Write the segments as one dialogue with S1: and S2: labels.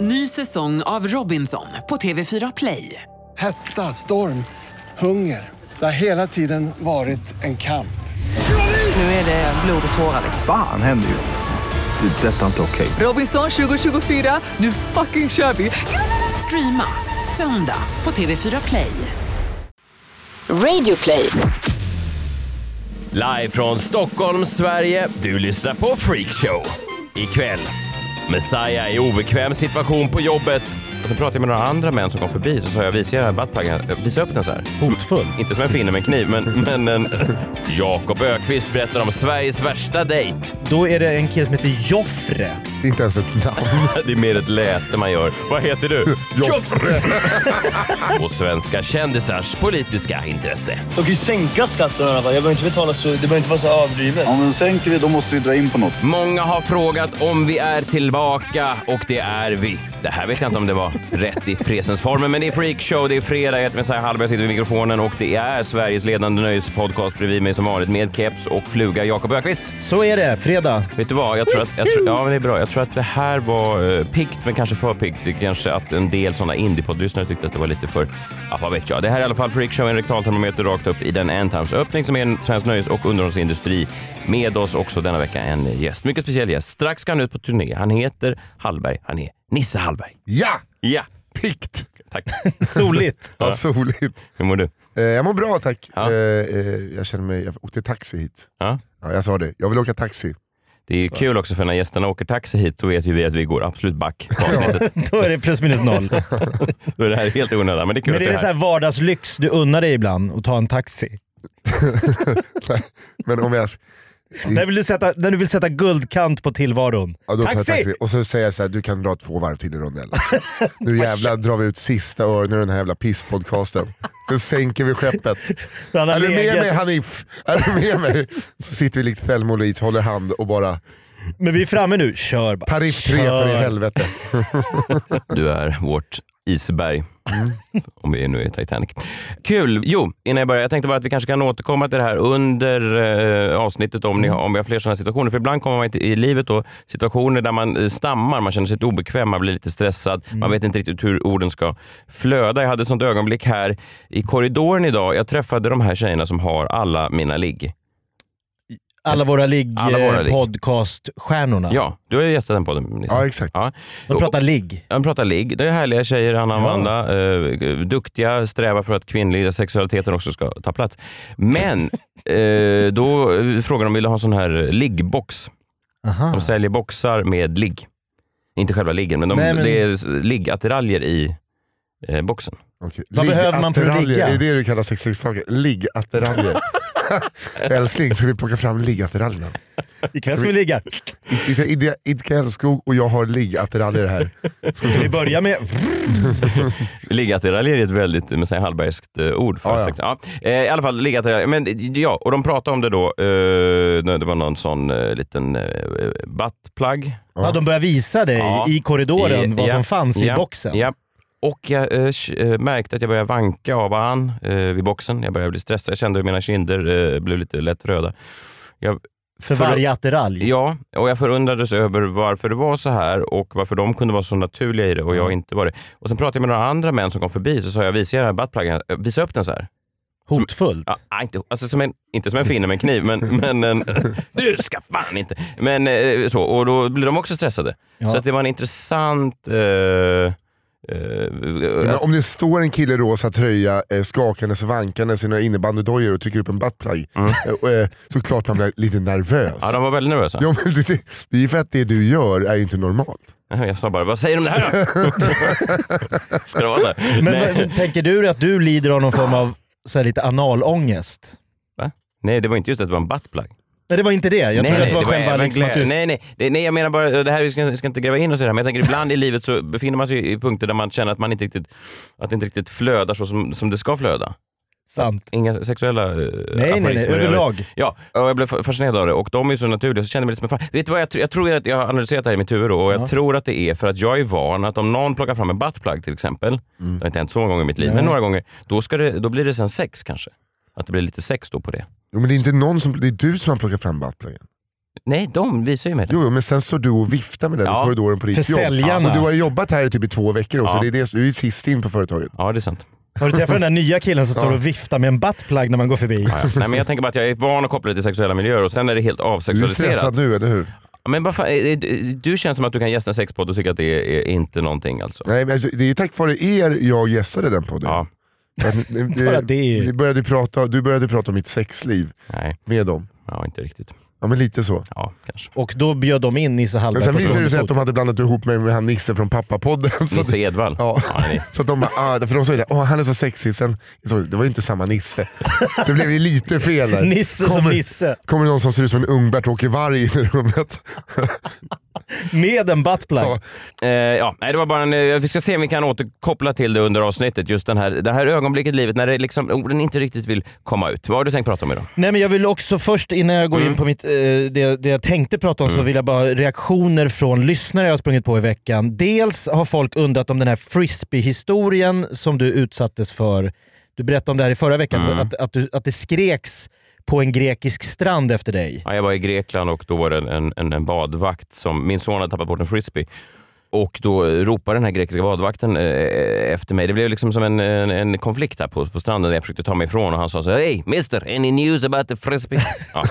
S1: Ny säsong av Robinson på TV4 Play.
S2: Hetta, storm, hunger. Det har hela tiden varit en kamp.
S1: Nu är det blod och tårar.
S3: Fan händer just nu. Det. är Detta är inte okej.
S1: Robinson 2024, nu fucking kör vi! Streama söndag på TV4 Play.
S4: Radio play.
S5: Live från Stockholm, Sverige. Du lyssnar på Freakshow. Ikväll. Messiah i obekväm situation på jobbet. Och så pratade jag med några andra män som kom förbi så sa jag visa era buttpluggen, eh, visa upp den så här. Hotfull? Inte som en finne med en kniv, men, men en... Jakob Ökvist berättar om Sveriges värsta dejt.
S6: Då är det en kille som heter Joffre.
S7: Det är inte ens ett namn.
S5: Det är mer ett läte man gör. Vad heter du? Joffre! Och svenska kändisars politiska intresse.
S8: De kan ju sänka skatterna. va? Jag behöver inte betala så... Det behöver inte vara så överdrivet.
S9: Ja, men sänker vi då måste vi dra in på något.
S5: Många har frågat om vi är tillbaka och det är vi. Det här vet jag inte om det var rätt i presensformen, men det är freakshow, det är fredag, jag heter Messiah Hallberg, jag sitter vid mikrofonen och det är Sveriges ledande nöjespodcast bredvid mig som vanligt med keps och fluga Jakob Ökvist.
S6: Så är det, fredag.
S5: Vet du vad? Jag tror att, jag tror, ja, men det är bra. Jag tror att det här var eh, piggt, men kanske för piggt. Det Kanske att en del sådana indiepoddlyssnare tyckte att det var lite för... Ja, vad vet jag. Det här är i alla fall Freakshow, en rektaltermometer rakt upp i den ändtarmsöppning som är en svensk nöjes och underhållsindustri. Med oss också denna vecka en gäst, mycket speciell gäst. Strax ska han ut på turné. Han heter Hallberg. Han är Nisse Hallberg.
S7: Ja!
S5: Ja,
S7: Pikt!
S5: tack.
S6: Soligt.
S7: Ja, soligt.
S5: Hur mår du?
S7: Eh, jag mår bra tack.
S5: Ja.
S7: Eh, eh, jag känner mig, jag åkte taxi hit.
S5: Ja.
S7: Ja, jag sa det, jag vill åka taxi.
S5: Det är ju kul också för när gästerna åker taxi hit, då vet ju vi att vi går absolut back på avsnittet.
S6: Då är det plus minus noll.
S5: Då är det här helt i onödan, men det är kul
S6: Men
S5: att
S6: är
S5: du
S6: det så här vardagslyx du unnar dig ibland att ta en taxi?
S7: Men om jag,
S6: När, vill du sätta, när du vill sätta guldkant på tillvaron.
S7: ja, då tar jag
S6: taxi!
S7: taxi. Och så säger jag så här, du kan dra två varv till i rondellen. Nu jävlar drar vi ut sista öronen ur den här jävla pisspodcasten. Nu sänker vi skeppet.
S6: Så han har
S7: Är du med
S6: legat-
S7: mig Hanif? Är du med mig? Så sitter vi likt Thelma och Louise, håller hand och bara,
S6: Men vi är framme nu. Kör bara.
S7: Parif 3 för i
S6: Kör.
S7: helvete.
S5: Du är vårt isberg. Om vi nu är Titanic. Kul! Jo, innan jag börjar. Jag tänkte bara att vi kanske kan återkomma till det här under eh, avsnittet om, ni har, om vi har fler sådana situationer. För ibland kommer man i, i livet då situationer där man eh, stammar, man känner sig lite obekväm, man blir lite stressad, man vet inte riktigt hur orden ska flöda. Jag hade ett sånt ögonblick här i korridoren idag. Jag träffade de här tjejerna som har alla mina ligg.
S6: Alla våra ligg
S5: Alla våra ligg.
S6: eh, podcaststjärnorna.
S5: Ja, du har ju gästat den podden. Nisse.
S7: Ja exakt.
S5: Ja.
S6: De pratar ligg.
S5: Han pratar ligg. Det är härliga tjejer, Anna och Amanda. Eh, duktiga, strävar för att kvinnliga sexualiteten också ska ta plats. Men eh, då eh, frågade de om de ville ha en sån här liggbox.
S6: Aha.
S5: De säljer boxar med ligg. Inte själva liggen, men, de,
S6: Nej, men-
S5: det är s- liggattiraljer i eh, boxen.
S7: Okej.
S6: Vad behöver man för att
S7: Liggattiraljer,
S6: ligga?
S7: Är det det du kallar sexleksaker? Liggattiraljer. Älskling, ska vi plocka fram liggattiraljerna?
S6: Ikväll ska vi ligga.
S7: Vi ska idka- idka älskog och jag har liggattiraljer här.
S6: Ska vi börja med...
S5: Liggattiraljer är ett väldigt Messiah Hallbergskt eh, ord. För
S7: Ja, ja.
S5: sex. Ja. Eh, I alla fall liggattiraljer. Men eh, ja, och de pratade om det då. Eh, när det var någon sån eh, liten eh, buttplug.
S6: Ja, de börjar visa dig
S5: Ja.
S6: i korridoren
S5: I-
S6: vad
S5: ja,
S6: som fanns
S5: ja,
S6: i boxen.
S5: Ja. Och jag eh, sh- eh, märkte att jag började vanka av och an eh, vid boxen. Jag började bli stressad. Jag kände hur mina kinder eh, blev lite lätt röda. Jag,
S6: För varje attiralj.
S5: Ja, och jag förundrades över varför det var så här och varför de kunde vara så naturliga i det och
S6: Mm.
S5: jag inte var det. Och Sen pratade jag med några andra män som kom förbi så sa jag visa era den här buttpluggen, Eh, visa upp den så här.
S6: Hotfullt.
S5: Ja, nej, inte, alltså som en, inte som en finne med en kniv, men, men en, du ska fan inte. Men eh, så, och då blir de också stressade.
S6: Ja.
S5: Så att det var en intressant... Eh, eh,
S7: Men
S5: att-
S7: om det står en kille i rosa tröja eh, skakandes och vankandes i några innebandydojor och trycker upp en buttplug, eh, och, eh, så klart man blir lite nervös.
S5: ja, de var väldigt nervösa.
S7: Ja, men det, det- det är ju för att det du gör är ju inte normalt.
S5: Jag sa bara, vad säger de om det här då? Ska det vara så här?
S6: Men,
S5: nej.
S6: men tänker du att du lider av någon form av så här, lite analångest?
S5: Va? nej, det var inte just att det var en buttplug.
S6: Nej det var inte det. Jag
S5: nej,
S6: trodde att det
S5: nej,
S6: var själva
S5: även
S6: liksom att
S5: glä-
S6: du...
S5: nej, nej, det, nej, jag menar bara, det här, vi ska, ska inte gräva in oss i det här, men jag tänker ibland i livet så befinner man sig i punkter där man känner att man inte riktigt, att det inte riktigt flödar så som, som det ska flöda.
S6: Sant.
S5: Inga sexuella eh,
S6: Nej, nej, nej.
S5: aforismer i
S6: Överlag.
S5: Ja, och jag blev fa- fascinerad av det och de är ju så naturliga så känner jag mig lite som en fan. Vet du vad, jag, tr- jag tror att jag har analyserat det här i mitt huvud då, och jag
S6: Ja.
S5: tror att det är för att jag är van att om någon plockar fram en buttplug till exempel,
S7: Mm.
S5: det har inte hänt så många gånger i mitt liv, men några gånger, då, ska det, då blir det sen sex kanske. Att det blir lite sex då på det.
S7: Jo, men det är inte någon som, det är du som har plockat fram buttplugen.
S5: Nej, de visar ju mig det.
S7: Jo, jo, men sen står du och viftar med den
S5: Ja.
S7: i korridoren på ditt
S6: För
S7: jobb.
S6: säljarna.
S7: Och du har ju jobbat här i typ i två veckor också.
S5: Ja.
S7: Det är det, du är ju sist in på företaget.
S5: Ja, det är sant.
S6: Har du träffat den där nya killen som står och viftar med en buttplug när man går förbi?
S5: Ja, ja. Nej, men jag tänker bara att jag är van att koppla det till sexuella miljöer och sen är det helt
S7: Du är
S5: avsexualiserat.
S7: stressad nu, eller hur?
S5: Men vad fan, eh, eh, du känns som att du kan gästa en sexpodd och tycka att det är inte någonting alltså.
S7: Nej, men alltså, det är tack vare er jag gästade den podden.
S5: Ja,
S7: För att ni- ni-
S6: Bara det är ju-
S7: ni började prata, du började prata om mitt sexliv
S5: nej,
S7: med dem.
S5: ja, inte riktigt.
S7: Ja men lite så.
S5: Ja, kanske.
S6: Och då bjöd de in Nisse
S7: Men
S6: Hallberg
S7: sen
S6: på
S7: visade det sig att
S6: stående
S7: de hade blandat ihop mig med han Nisse från pappapodden. Så, att-
S5: Nisse Edwall.
S7: ja.
S5: nej.
S7: så att de bara, ah, för de sa ju det, åh han är så sexig. Sen, så, det var ju inte samma Nisse. Det blev ju lite fel där.
S6: fot. Nisse som
S7: Kommer-
S6: Nisse.
S7: Kommer det någon som ser ut som en ung Bert-Åke Varg in i rummet?
S6: Med en buttplug.
S7: Ja.
S5: Eh, ja, nej, det var bara en, eh, vi ska se om vi kan återkoppla till det under avsnittet. Just den här, det här ögonblicket i livet när det liksom, orden inte riktigt vill komma ut. Vad har du tänkt prata om idag?
S6: Nej men jag vill också först, innan jag går in på mitt, eh, det, det jag tänkte prata om, så vill jag bara reaktioner från lyssnare jag har sprungit på i veckan. Dels har folk undrat om den här frisbee-historien som du utsattes för. Du berättade om det här i förra veckan, att, att, du, att det skreks på en grekisk strand efter dig.
S5: Ja, jag var i Grekland och då var det en, en, en badvakt som... Min son hade tappat bort en frisbee. Och då ropade den här grekiska badvakten eh, efter mig. Det blev liksom som en, en, en konflikt här på, på stranden där jag försökte ta mig ifrån och han sa så här, Hey mister, any news about the frisbee? Ja,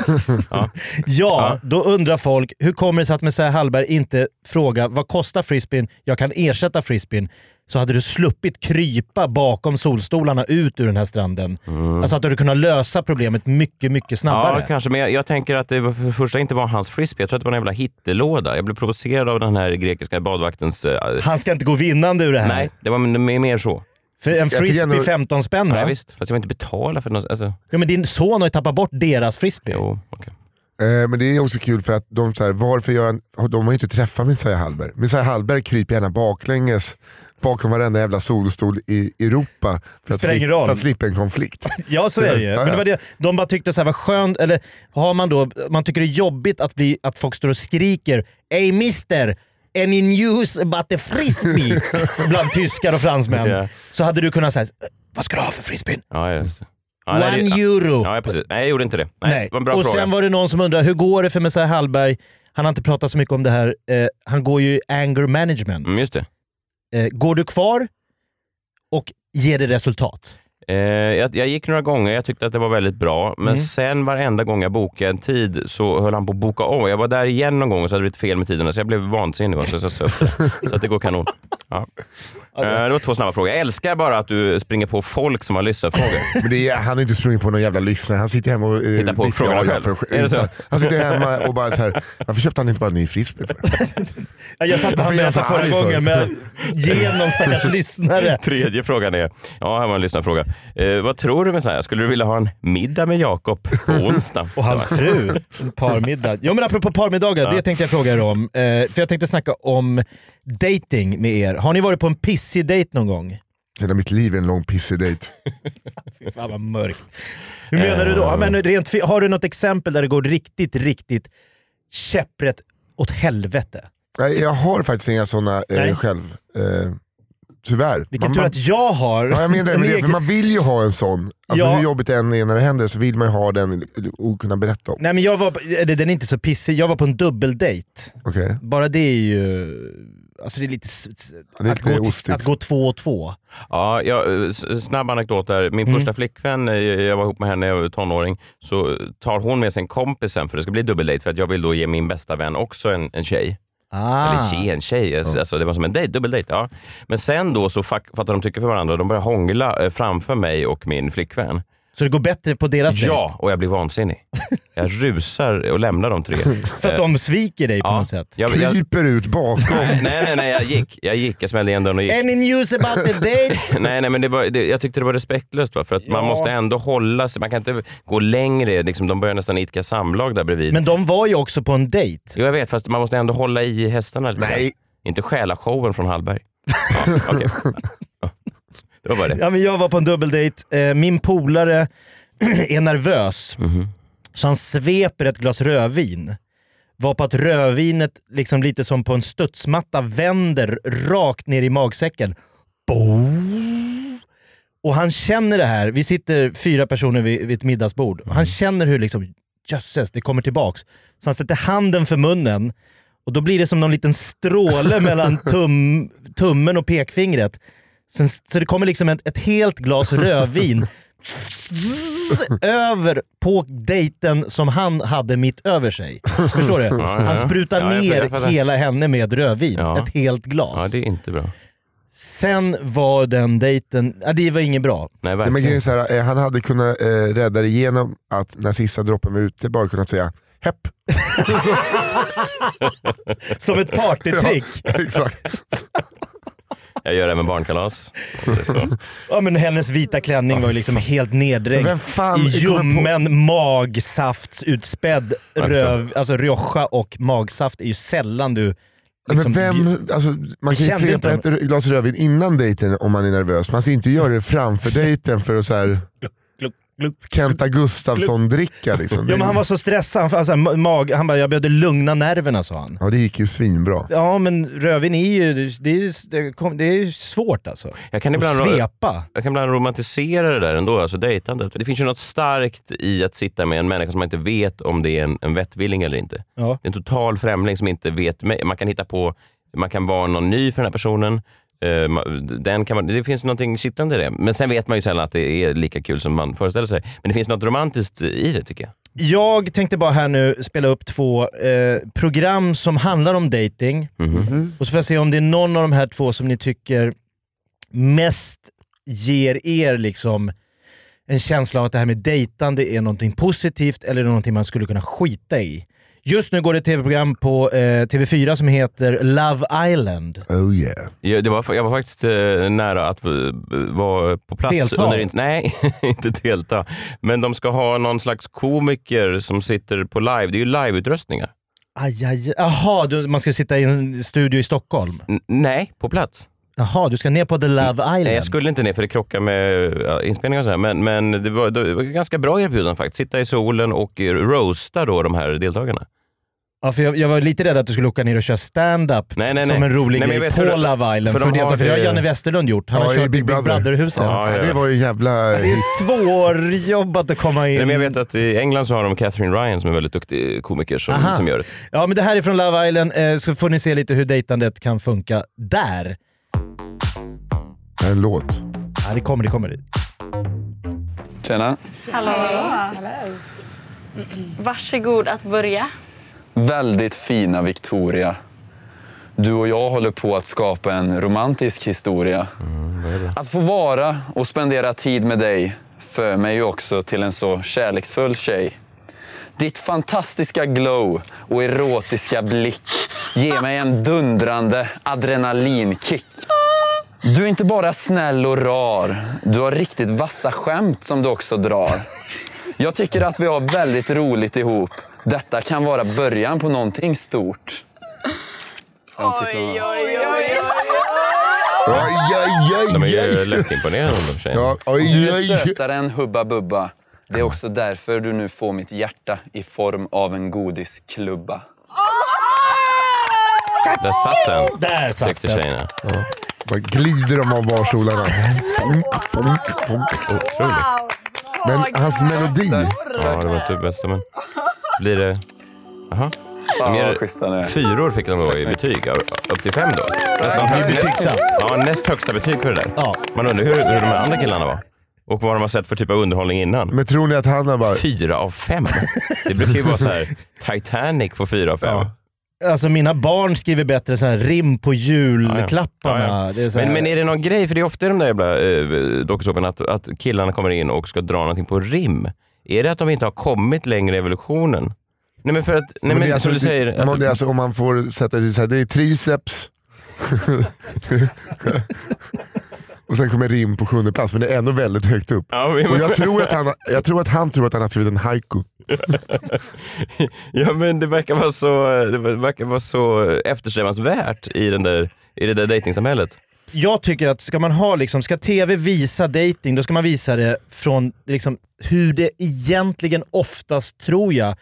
S5: ja.
S6: Ja, då undrar folk, hur kommer det sig att Messiah Hallberg inte frågar vad kostar frisbeen, jag kan ersätta frisbeen, så hade du sluppit krypa bakom solstolarna ut ur den här stranden. Alltså att du hade kunnat lösa problemet mycket, mycket snabbare.
S5: Mm. ja, kanske. Men jag, jag tänker att det var för det första inte var hans frisbee. Jag tror att det var en jävla hittelåda. Jag blev provocerad av den här grekiska badvaktens... eh,
S6: Han ska inte gå vinnande ur det här.
S5: Nej, det var m- mer så.
S6: För en
S7: tycker
S6: frisbee
S7: ändå-
S6: 15 spänn
S5: Nej,
S6: va?
S5: visst. Fast jag vill inte betala för något. Alltså,
S6: Ja, men din son har ju tappat bort deras frisbee.
S5: jo, okej.
S7: Eh, men det är också kul för att de, så här, varför gör han, har- de har ju inte träffat Messiah Hallberg. Messiah Hallberg kryper gärna baklänges bakom varenda jävla solstol i Europa för att,
S6: Spelar ingen
S7: slip,
S6: roll.
S7: för att slippa en konflikt.
S6: Ja, så är det ju.
S7: Ja,
S6: Men det
S7: ja.
S6: var det, de bara tyckte så här, vad skönt, eller har man då, man tycker det är jobbigt att, bli, att folk står och skriker “Ey mister, any news about the frisbee?” bland tyskar och fransmän.
S5: Ja.
S6: Så hade du kunnat säga “Vad ska du ha för frisbeen?”
S5: Ja, just det. Ja,
S6: One
S5: nej, det-
S6: euro.
S5: Ja, precis. Nej, jag gjorde inte det. Nej, Det var en bra
S6: och
S5: fråga.
S6: sen var det någon som undrade, hur går det för Messiah Hallberg? Han har inte pratat så mycket om det här. Eh, han går ju i anger management.
S5: Mm, just det.
S6: Eh, går du kvar och ger det resultat?
S5: Eh, jag, jag gick några gånger, jag tyckte att det var väldigt bra. Men sen varenda gång jag bokade en tid så höll han på att boka om. Jag var där igen någon gång och så hade det blivit fel med tiderna, så jag blev vansinnig. va, Så, jag sa upp det. så att det går kanon. Ja. Eh, det var två snabba frågor. Jag älskar bara att du springer på folk som har lyssnarfrågor.
S7: Men det är, han har inte sprungit på någon jävla lyssnare, han sitter hemma och... eh,
S5: Hittar på
S7: vickar-
S5: frågorna
S7: ja, ja,
S5: själv.
S7: för-
S5: Är det så?
S7: utan- Han sitter hemma och bara så här. varför köpte han inte bara en ny frisbee för?
S6: Ja, Jag satte
S7: Varför
S6: han
S7: är
S6: med
S7: jag så
S6: förra
S7: arg för?
S6: gången, men genom stackars lyssnare.
S5: Tredje frågan är, ja här var en lyssnarfråga. Eh, vad tror du med så här? skulle du vilja ha en middag med Jakob på onsdag?
S6: Och hans fru. Parmiddag. Jo men apropå parmiddagar, det tänkte jag fråga er om. Eh, för jag tänkte snacka om dating med er. Har ni varit på en pissig dejt någon gång?
S7: Hela mitt liv är en lång pissig dejt.
S6: Fy fan vad mörkt. Hur menar du då? Ja,
S7: Eh.
S6: men rent, fi- har du något exempel där det går riktigt, riktigt käpprätt åt helvete?
S7: Nej, jag har faktiskt inga sådana
S6: Nej.
S7: eh, själv. Eh, tyvärr.
S6: Vilken
S7: Man-
S6: tur
S7: man-
S6: att jag har.
S7: Ja, jag menar det,
S6: en
S7: men det, för
S6: egen-
S7: man vill ju ha en sån. Alltså,
S6: Ja.
S7: Hur jobbigt det än är när det händer så vill man ju ha den och kunna berätta om.
S6: Nej men jag var, på- eller den är inte så pissig, jag var på en dubbeldejt.
S7: Okej.
S6: Bara det är ju... Alltså det är lite... s- s-
S7: Ja, det är
S6: att,
S7: lite
S6: gå t-
S7: ostigt.
S6: att gå två och två.
S5: Ja, jag, eh, s- snabb anekdot där. Min
S6: Mm.
S5: första flickvän, eh, jag var ihop med henne när jag var tonåring, så tar hon med sig en kompis sen för det ska bli dubbeldejt för att jag vill då ge min bästa vän också en, en tjej.
S6: Ah.
S5: Eller tjej, en tjej. Alltså, det var som en dejt, dubbeldejt. Ja. Men sen då så fack- fattar de tycke för varandra de börjar hångla eh, framför mig och min flickvän.
S6: Så det går bättre på deras
S5: Ja, och jag blir vansinnig. Jag rusar och lämnar de tre.
S6: dejt? För att de sviker dig på något sätt.
S5: Jag, jag,
S7: Kryper ut bakom.
S5: nej, nej, nej, jag gick. Jag gick, jag smällde igen dörren och gick.
S6: Any news about the date?
S5: Nej, nej men det var, det, jag tyckte det var respektlöst. Va? För att man måste ändå hålla sig. Man kan inte gå längre. Liksom, de börjar nästan idka samlag där bredvid.
S6: Men de var ju också på en dejt.
S5: Jo, jag vet. Fast man måste ändå hålla i hästarna lite.
S7: Nej.
S5: Inte stjäla showen från Hallberg. Ja, okej. Ja. Det var bara det.
S6: Ja, men jag var på en dubbeldejt, eh, min polare är nervös. Så han sveper ett glas rödvin. Var på att rödvinet, liksom lite som på en studsmatta, vänder rakt ner i magsäcken. Boom. Och han känner det här. Vi sitter fyra personer vid, vid ett middagsbord. Han känner hur liksom jösses, det kommer tillbaks. Så han sätter handen för munnen och då blir det som någon liten stråle mellan tum, tummen och pekfingret. Sen, så det kommer liksom ett, ett helt glas rödvin över på dejten som han hade mitt över sig. Förstår du?
S5: ja,
S6: Han
S5: ja.
S6: sprutar
S5: Ja, jag
S6: ner
S5: fattar.
S6: hela henne med rödvin.
S5: Ja.
S6: Ett helt glas.
S5: Ja, det är inte bra.
S6: Sen var den dejten, ja, det var inget bra.
S5: Nej,
S7: Nej, men
S5: verkligen.
S7: grejen är så här, eh, han hade kunnat eh, rädda det genom att när sista droppen var ute bara kunnat säga hepp.
S6: Som ett partytrick.
S7: Exakt.
S5: Jag gör även barnkalas. Om det är så.
S6: Ja, men hennes vita klänning var ju liksom helt neddränkt
S7: Vem fan
S6: i
S7: kommer
S6: ljummen magsaftsutspedd
S5: förstår.
S6: röv. Alltså rioja och magsaft är ju sällan du...
S7: Men
S6: Liksom,
S7: vem, alltså, man kan ju
S6: kände
S7: svepa ett
S6: inte
S7: glas rödvin innan dejten om man är nervös. Man ska ju inte göra det framför dejten för att så här,
S6: Gluck, gluck.
S7: Kenta Gustafsson-dricka. Liksom.
S6: Ja, men han var så stressad. Han, alltså, mag, han bara, jag behövde lugna nerverna sa han.
S7: Ja, det gick ju svinbra.
S6: Ja men rödvin är ju, det är, det kom- det är ju svårt alltså.
S5: Jag kan ibland-
S6: Att svepa.
S5: Jag kan ibland romantisera det där ändå, alltså dejtandet. Det finns ju något starkt i att sitta med en människa som man inte vet om det är en, en vettvilling eller inte.
S6: Ja.
S5: Det är En total främling som inte vet. mig. Man kan hitta på, man kan vara någon ny för den här personen. Eh, ma- Den kan man, det finns någonting kittlande i det. Men sen vet man ju sällan att det är lika kul som man föreställer sig. Men det finns något romantiskt i det tycker jag.
S6: Jag tänkte bara här nu spela upp två eh, program som handlar om dating. Och så får jag se om det är någon av de här två som ni tycker mest ger er liksom en känsla av att det här med dejtande är någonting positivt eller någonting man skulle kunna skita i. Just nu går det ett tv-program på eh, TV4 som heter Love Island.
S7: Oh yeah.
S5: Jag, det var, jag var faktiskt eh, nära att eh, vara på plats.
S6: Delta.
S5: in- nej, inte delta. Men de ska ha någon slags komiker som sitter på live. Det är ju liveutröstningar.
S6: Aj, aj, aj. Jaha, du- man ska sitta i en studio i Stockholm.
S5: N- nej, på plats.
S6: Jaha, du ska ner på The Love Island.
S5: Nej, jag skulle inte ner för det krockar med ja, inspelningar och sådär. Men, men det, var, det var ganska bra erbjudande faktiskt. Sitta i solen och eh, roasta då de här deltagarna.
S6: Ja, för jag, jag var lite rädd att du skulle åka ner och köra stand-up
S5: Nej, nej,
S6: som
S5: nej.
S6: en rolig
S5: Nej, men jag
S6: grej
S5: vet
S6: på
S5: hur-
S6: Love Island. För,
S5: för de
S6: att delta,
S5: har
S6: för det har
S5: det-
S6: Janne Westerlund gjort. Han
S7: Ja,
S6: har
S7: i
S6: kört i Big
S7: Big Brother.
S6: Brother-huset.
S5: Ja, ja.
S7: Det var ju en jävla...
S6: Det är svårjobbat att komma in.
S5: Nej, men jag vet att i England så har de Catherine Ryan som är en väldigt duktig komiker som,
S6: Aha.
S5: som gör det.
S6: Ja, men det här är från Love Island, eh, så får ni se lite hur dejtandet kan funka där.
S7: En låt.
S6: Ja, det kommer, det kommer.
S9: Tjena.
S10: Varsågod att börja.
S9: Väldigt fina Victoria. Du och jag håller på att skapa en romantisk historia. Att få vara och spendera tid med dig för mig ju också till en så kärleksfull tjej. Ditt fantastiska glow och erotiska blick ger mig en dundrande adrenalinkick. Du är inte bara snäll och rar. Du har riktigt vassa skämt som du också drar. Jag tycker att vi har väldigt roligt ihop. Detta kan vara början på någonting stort.
S10: Oj, oj, oj.
S7: Aj, aj, aj,
S5: De är
S7: aj.
S5: ju lättimponerande de tjejerna.
S7: Ja, aj,
S9: Du är
S7: aj, aj.
S9: sötare än Hubba Bubba. Det är också därför du nu får mitt hjärta i form av en godisklubba.
S5: Där satt den,
S6: Där satt
S5: tyckte
S6: den.
S5: tjejerna.
S7: Bara glider de av barstolarna. Funk, funk, funk.
S5: Otroligt.
S7: Men hans melodi.
S5: Ja, det var inte det bästa men... Blir det... Jaha. De
S9: vad
S5: ger
S9: schyssta ni är.
S5: fyror fick de då i betyg. av- Upp till fem då. Nästan
S6: Det blir betygsatt.
S5: Ja, näst högsta betyg för det där.
S6: Ja.
S5: Man undrar hur, hur de här andra killarna var. Och vad de har sett för typ av underhållning
S6: Mm.
S5: innan.
S7: Men tror ni att han har bara...
S5: Fyra av fem. Det brukar ju vara så här, Titanic får fyra av fem.
S7: Ja.
S6: Alltså mina barn skriver bättre så här, rim på julklapparna.
S5: Ja, ja.
S6: Det är så här,
S5: Men, men är det någon grej, för det är ofta i de där jävla eh, dokusåporna att, att killarna kommer in och ska dra någonting på rim. Är det att de inte har kommit längre i evolutionen? Nej men för att, nej men,
S7: det är
S5: som du
S7: det-
S5: säger.
S7: men
S5: att-
S7: det är alltså, om man får sätta det så här, det är triceps. och sen kommer rim på sjunde plats, men det är ändå väldigt högt upp.
S5: Ja, men-
S7: Och jag tror att han, har- jag tror att han tror att han har skrivit en haiku.
S5: Ja men det verkar vara så, det verkar vara så eftersträvansvärt i, den där, i det där dejtingsamhället.
S6: Jag tycker att ska man ha liksom, ska TV visa dating, då ska man visa det från liksom, hur det egentligen oftast, tror jag,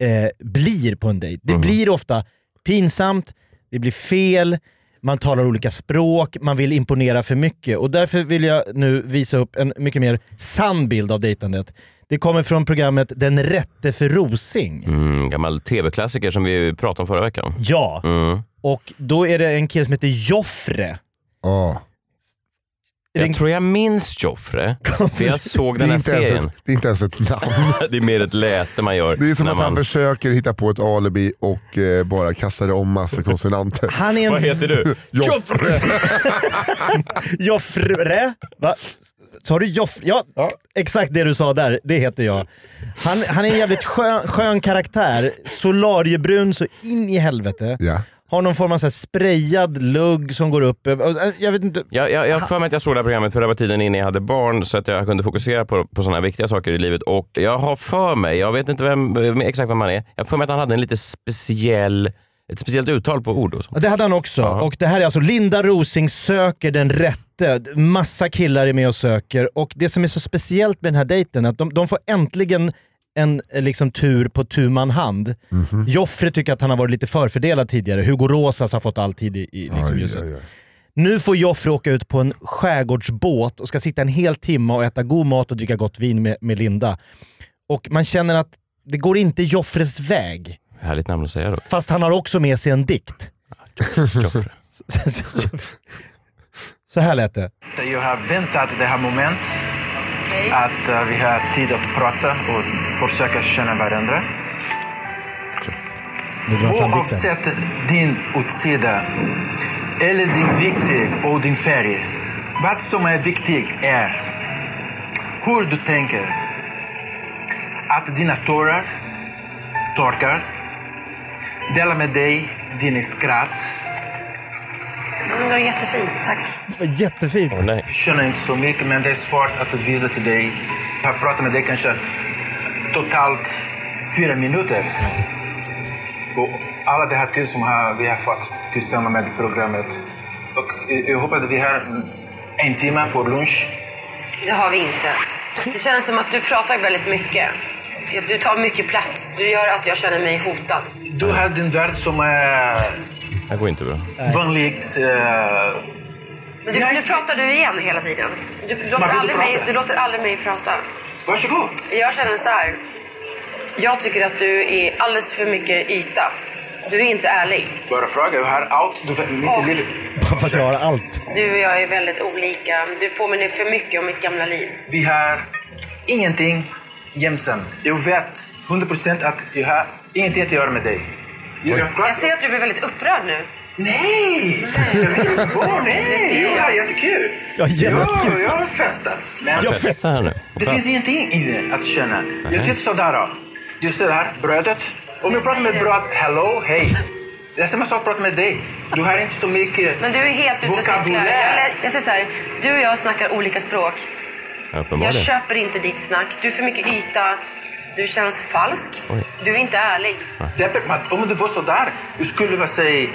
S5: Mhm.
S6: eh, blir på en dejt. Det blir ofta pinsamt, det blir fel, man talar olika språk, man vill imponera för mycket. Och därför vill jag nu visa upp en mycket mer sann bild av dejtandet. Det kommer från programmet Den rätte för Rosing.
S5: Mm, gammal tv-klassiker som vi pratade om förra veckan.
S6: Ja,
S5: Mm.
S6: och då är det en kille som heter Joffre.
S7: Ja.
S5: Jag
S6: Ring-
S5: tror jag minns Joffre, för jag såg
S7: Det,
S5: den
S7: är
S5: här
S7: inte ens
S5: serien.
S7: ett, det är inte ens ett namn.
S5: Det är mer ett läte man gör.
S7: Det är som
S5: när
S7: att han
S5: man...
S7: försöker hitta på ett alibi och eh, bara kastar om massa konsonanter.
S6: Han är en
S5: Vad heter du?
S7: Joffre!
S6: Joffre? Va? Sa du Joffre? Ja,
S7: Ja.
S6: exakt det du sa där. Det heter jag. Han, han är en jävligt skön, skön karaktär. Solariebrun så in i helvete.
S7: Ja.
S6: Har någon form av så här sprayad lugg som går upp. över- Jag vet inte.
S5: Jag, jag, jag har för mig att jag såg det här programmet för det var tiden innan jag hade barn så att jag kunde fokusera på, på sådana viktiga saker i livet. Och jag har för mig, jag vet inte vem, eh, exakt vem han är, jag har för mig att han hade en lite speciell, ett speciellt uttal på ord. Och sånt.
S6: Det hade han också. Och det här är alltså Linda Rosing söker den rätte. Massa killar är med och söker. Och det som är så speciellt med den här dejten är att de, de får äntligen en eh, liksom, tur på tu man hand.
S7: Mhm.
S6: Joffre tycker att han har varit lite förfördelad tidigare. Hugo Rosas har fått all tid i, i liksom,
S7: Aj,
S6: ljuset.
S7: aj, aj.
S6: Nu får Joffre åka ut på en skärgårdsbåt och ska sitta en hel timme och äta god mat och dricka gott vin med, med Linda. Och man känner att det går inte Joffres väg.
S5: Härligt namn att säga då.
S6: Fast han har också med sig en dikt.
S5: Joffre.
S6: Så här lät det.
S11: Jag har väntat det här momentet. Att eh, vi har tid att prata och försöka känna varandra.
S6: Nu drar han fram dikten.
S11: Oavsett din utsida eller din vikt och din färg. Vad som är viktigt är hur du tänker. Att dina tårar torkar. Dela med dig din skratt.
S6: Det var jättefint.
S5: Åh, nej.
S11: Jag känner inte så mycket, men det är svårt att visa till dig. Jag pratar med dig kanske totalt fyra minuter. Och alla det här tid som har- vi har fått tillsammans med programmet. Och jag- jag hoppas att vi har en timme för lunch.
S12: Det har vi inte. Det känns som att du pratar väldigt mycket. Du tar mycket plats. Du gör att jag känner mig hotad.
S11: Du har din värld som är
S5: Det här går inte bra.
S11: vanligt. eh,
S12: Men du, nu pratar du igen hela tiden. Du låter,
S11: Varför
S12: aldrig
S11: pratar
S12: mig,
S11: jag?
S12: du låter aldrig mig prata.
S11: Varsågod!
S12: Jag känner så här. Jag tycker att du är alldeles för mycket yta. Du är inte ärlig.
S11: Bara fråga, jag har allt. Du vet, mitt
S12: Och-
S11: liv.
S6: Bara för att jag har allt.
S12: Du och jag är väldigt olika. Du påminner för mycket om mitt gamla liv.
S11: Vi har ingenting jämsamt. Jag vet 100% att jag har ingenting att göra med dig. Jag, jag,
S12: Jag ser att du blir väldigt upprörd nu.
S11: Nej! Jag vet inte. Åh nej! Jag har jättekul!
S6: Jag har jättekul.
S11: Ja, jag har festat. Men
S6: Jag
S5: Festa här nu.
S11: det finns ingenting i det att känna. Jag tittar sådär. då. Du ser här, brödet. Om jag pratar med bröd, hello, hej. Det är samma sak att prata med dig. Du har inte så mycket...
S12: Men du är helt ute och cyklar.
S11: Vokabulär.
S12: Eller, Jag säger så här. Du och jag snackar olika språk. Jag
S5: Uppenbarligen.
S12: köper inte ditt snack. Du är för mycket yta. Du känns falsk. Du är inte ärlig.
S11: Deppigt, men om du var sådär, jag skulle vilja säga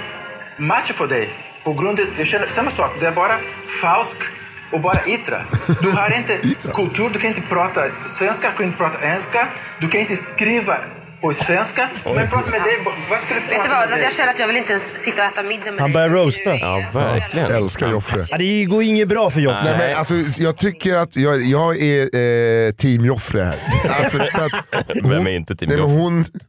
S11: match för dig. På grund av, jag känner samma sak, det är bara falsk och bara yttre. Du har inte kultur, du kan inte prata svenska, du kan inte prata engelska, du kan inte skriva på svenska. é Men prata med dig, vad ska du
S12: Vet du
S11: prata med
S12: vad? Att
S11: dig?
S12: jag känner att jag vill inte ens sitta och äta middag med
S6: Han
S12: dig.
S6: börjar
S12: Du är-
S6: roasta.
S5: Ja, verkligen.
S7: Älskar Joffre.
S6: Ja, det går inget bra för Joffre.
S7: Nej, men alltså, jag tycker att jag, jag är eh, team Joffre här. Alltså, för att hon,
S5: Vem är inte team
S7: nej, men
S5: Joffre?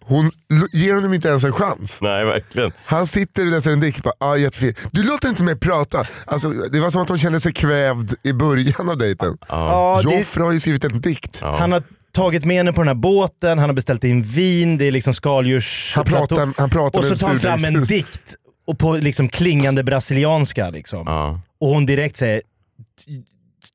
S7: hon, hon ger honom inte ens en chans.
S5: Nej, verkligen.
S7: Han sitter och läser en dikt och bara ah, jättefin. Du låter inte mig prata. Alltså, det var som att hon kände sig kvävd i början av dejten.
S6: Ja, det,
S7: Joffre har ju skrivit en dikt.
S6: han har tagit med henne på den här båten, han har beställt in vin, det är liksom skaldjurs...
S7: Han pratar- han pratar
S6: och
S7: med
S6: så
S7: en
S6: tar han fram en
S7: surdegsbrud.
S6: dikt och på liksom klingande brasilianska. Liksom.
S5: Ja.
S6: Och hon direkt säger "Ty-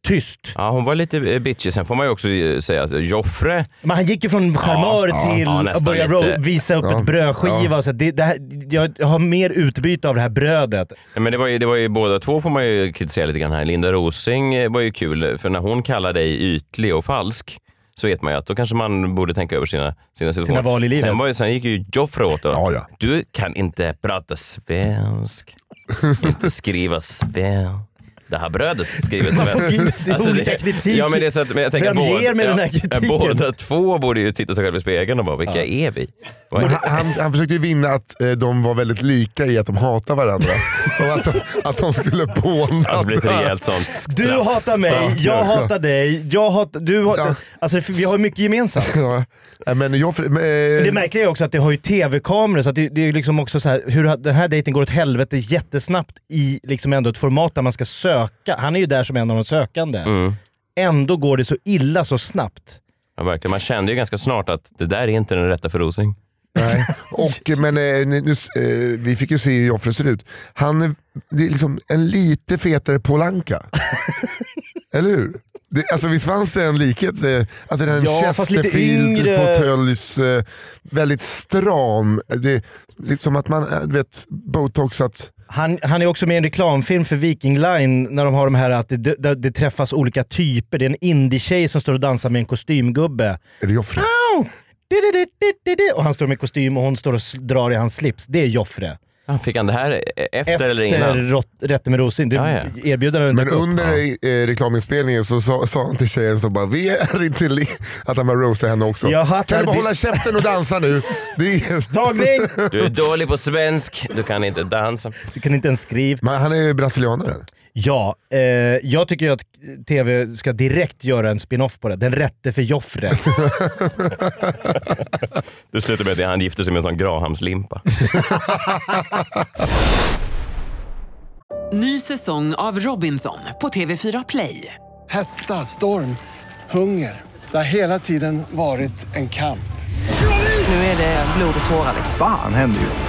S6: tyst.
S5: Ja, hon var lite eh, bitchy. Sen får man ju också eh, säga att Joffre,
S6: Men han gick ju från charmör
S5: ja,
S6: till
S5: ja,
S6: att
S5: nästan
S6: börja
S5: lite.
S6: ro- visa upp
S7: Ja,
S6: ett brödskiva. Och så. Det, det här, jag har mer utbyte av det här brödet.
S5: Nej, Men det var, ju, det var ju båda två får man ju kritisera lite grann här. Linda Rosing eh, var ju kul, för när hon kallar dig ytlig och falsk så vet man ju att då kanske man borde tänka över sina, sina situationer.
S6: val i livet.
S5: Sen, var, ju- sen gick ju Joffre åt och,
S7: Ja, ja.
S5: Du kan inte prata svensk, inte skriva svensk. det här brödet skriver
S6: Man får
S5: Sven. Alltså,
S6: tid- det är olika
S5: det-
S6: kritik.
S5: Ja, men det är så att, men jag tänker
S6: Vem
S5: att båda,
S6: ger mig den här
S5: ja,
S6: kritiken?
S5: Båda två borde ju titta sig själva i spegeln och bara, vilka
S7: Ja.
S5: är vi? Vad är
S7: Men
S5: det?
S7: han, han, han försökte ju vinna att eh, de var väldigt lika i att de hatar varandra. och att, att de skulle båda.
S5: Det blir ett rejält sånt straff.
S6: Du hatar mig,
S5: Straff.
S6: jag hatar dig, jag hatar, du hatar... Alltså för vi har ju mycket gemensamt.
S7: Ja. Nej, Men jag, men, eh,
S6: Men det märkliga är också att det har ju tv-kameror så att det, det är liksom också så här, hur den här dejten går åt helvete jättesnabbt i liksom ändå ett format där man ska söka. Han är ju där som en av de sökande.
S5: Mm.
S6: Ändå går det så illa så snabbt.
S5: Ja, verkligen. Man kände ju ganska snart att det där är inte den rätta för Rosing.
S7: Och, men eh, nu, eh, vi fick ju se hur Joffre ser ut. Han är, det är liksom en lite fetare Polanka. Eller hur? Det, alltså visst fanns det en likhet? eh, Alltså den
S6: Ja, fast lite
S7: Chesterfield,
S6: yngre.
S7: fåtöljs, eh, väldigt stram. Det är liksom att man, eh, du vet, botoxat.
S6: Han, han är också med i en reklamfilm för Viking Line när de har de här att det, det, det träffas olika typer. Det är en indie-tjej som står och dansar med en kostymgubbe.
S7: Är det Joffre?
S6: Och han står med kostym och hon står och s- drar i hans slips. Det är Joffre.
S5: Ja, Fick han det här eh, efter, eller innan?
S6: rott- Rätten med rosin. Du,
S5: Ja, ja.
S6: Erbjudandet
S7: Men
S6: dök upp.
S7: under eh, reklaminspelningen så sa, sa han till tjejen som bara, vi är inte li-" att han bara rosade henne också.
S6: Jag hatar
S7: kan du bara
S6: ditt-
S7: hålla käften och dansa nu? Det är...
S6: Tagning!
S5: Du är dålig på svensk, du kan inte dansa.
S6: Du kan inte ens skriva.
S7: Men han är ju brasilianare.
S6: Ja, eh, jag tycker ju att tv ska direkt göra en spin-off på det. Den rätte för Joffre.
S5: Det slutar med att han gifter sig med en sån grahamslimpa.
S1: Ny säsong av Robinson på TV4 Play.
S2: Hetta, storm, hunger. Det har hela tiden varit en kamp.
S1: Nu är det blod och tårar. liksom.
S3: Fan händer just det.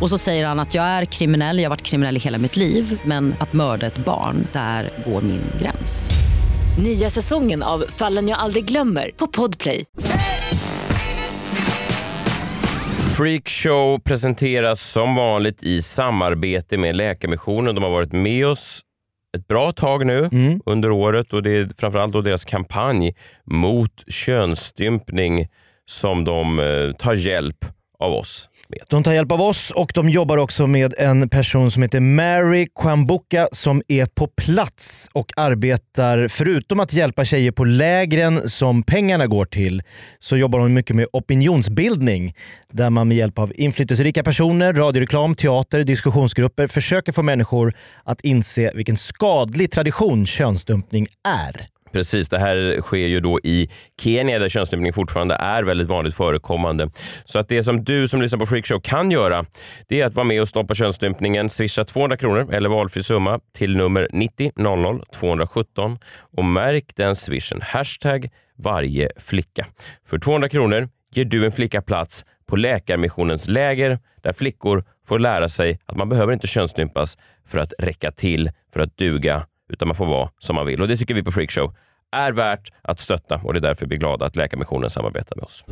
S13: Och så säger han att jag är kriminell, jag har varit kriminell i hela mitt liv men att mörda ett barn, där går min gräns.
S4: Nya säsongen av Fallen jag aldrig glömmer på Podplay.
S5: Freakshow presenteras som vanligt i samarbete med Läkarmissionen. De har varit med oss ett bra tag nu under året och det är framförallt då deras kampanj mot könsstympning som de eh, tar hjälp av oss med.
S6: De tar hjälp av oss och de jobbar också med en person som heter Mary Kwambuka som är på plats och arbetar, förutom att hjälpa tjejer på lägren som pengarna går till, så jobbar de mycket med opinionsbildning där man med hjälp av inflytelserika personer, radioreklam, teater, diskussionsgrupper försöker få människor att inse vilken skadlig tradition könsdumpning är.
S5: Precis, det här sker ju då i Kenya där könsstympning fortfarande är väldigt vanligt förekommande. Så att det som du som lyssnar på Freakshow kan göra, det är att vara med och stoppa könsstympningen. Swisha 200 kronor eller valfri summa till nummer 90 00 217 och märk den swishen hashtag varje flicka. För 200 kronor ger du en flicka plats på Läkarmissionens läger där flickor får lära sig att man behöver inte könsstympas för att räcka till, för att duga, utan man får vara som man vill. Och Det tycker vi på Freakshow är värt att stötta och det är därför vi är glada att Läkarmissionen samarbetar med oss.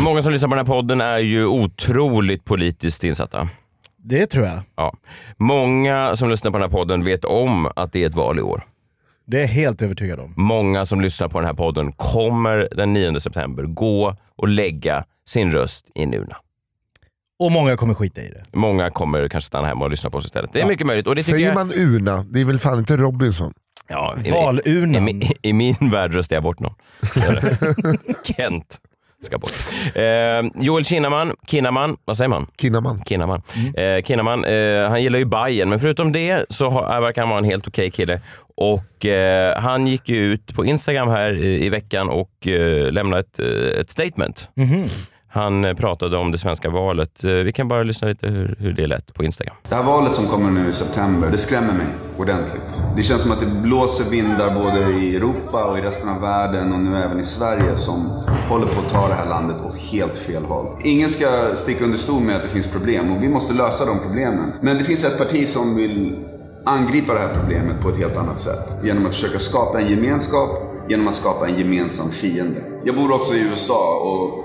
S5: Många som lyssnar på den här podden är ju otroligt politiskt insatta.
S6: Det tror jag.
S5: Ja. Många som lyssnar på den här podden vet om att det är ett val i år.
S6: Det är jag helt övertygad om.
S5: Många som lyssnar på den här podden kommer den 9 september gå och lägga sin röst i en urna.
S6: Och många kommer skita i det.
S5: Många kommer kanske stanna hemma och lyssna på oss istället. Det är mycket möjligt. Och det tycker
S7: Säger
S5: jag...
S7: man urna, det är väl fan inte Robinson?
S5: Ja, i-
S6: Valurnan.
S5: I, i, I min värld röstar jag bort någon. Så är det. Kent ska bort. Eh, Joel Kinnaman, Kinnaman, vad säger man?
S7: Kinnaman.
S5: Kinnaman.
S7: Mm.
S5: Eh, Kinnaman eh, han gillar ju Bayern men förutom det så har, verkar han vara en helt okej kille. Och eh, Han gick ju ut på Instagram här i, i veckan och eh, lämnade ett, eh, ett statement.
S7: Mhm.
S5: Han eh, pratade om det svenska valet. Eh, vi kan bara lyssna lite hur, hur det lät på Instagram.
S14: Det här valet som kommer nu i september, det skrämmer mig ordentligt. Det känns som att det blåser vindar både i Europa och i resten av världen och nu även i Sverige som håller på att ta det här landet åt helt fel håll. Ingen ska sticka under stol med att det finns problem och vi måste lösa de problemen. Men det finns ett parti som vill angripa det här problemet på ett helt annat sätt. Genom att försöka skapa en gemenskap, genom att skapa en gemensam fiende. Jag bor också i USA och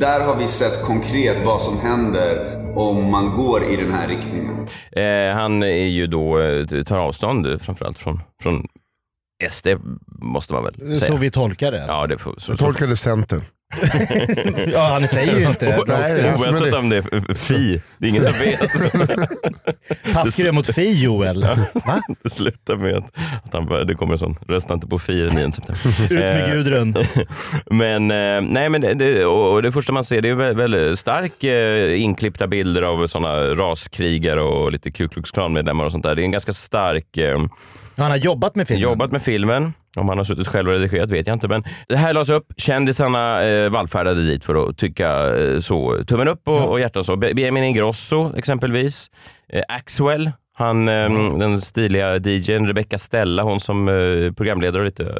S14: där har vi sett konkret vad som händer om man går i den här riktningen.
S5: Eh, han är ju då, eh, tar avstånd eh, framförallt från, från SD, måste man väl säga.
S6: Så vi tolkar det.
S5: Ja, det får, så,
S7: Jag tolkade Centern.
S6: Ja, han säger ju inte.
S5: O-
S7: Nej, alltså, men
S5: Oväntat
S7: det-
S5: om det är Fi. Det är ingen som vet.
S6: Taskig du mot Fi Joel. Va?
S5: Det slutar med att, att han bara, det kommer en sån, rösta inte på Fi den 9 september.
S6: Ut med
S5: Eh,
S6: Gudrun.
S5: Men, eh, nej, men det- det, och och det första man ser det är väl, väl stark eh, inklippta bilder av såna raskrigare och lite Ku Klux Klan-medlemmar och sånt där. Det är en ganska stark... Eh,
S6: Han har jobbat med filmen.
S5: Jobbat med filmen. Om han har suttit själv och redigerat vet jag inte. Men det här lades upp. Kändisarna eh, vallfärdade dit för att tycka eh, så. Tummen upp och, och hjärtan så. Be- Benjamin Ingrosso exempelvis. Eh, Axwell. Han, eh, Den stiliga DJn Rebecca Stella, hon som eh, programledare och lite eh,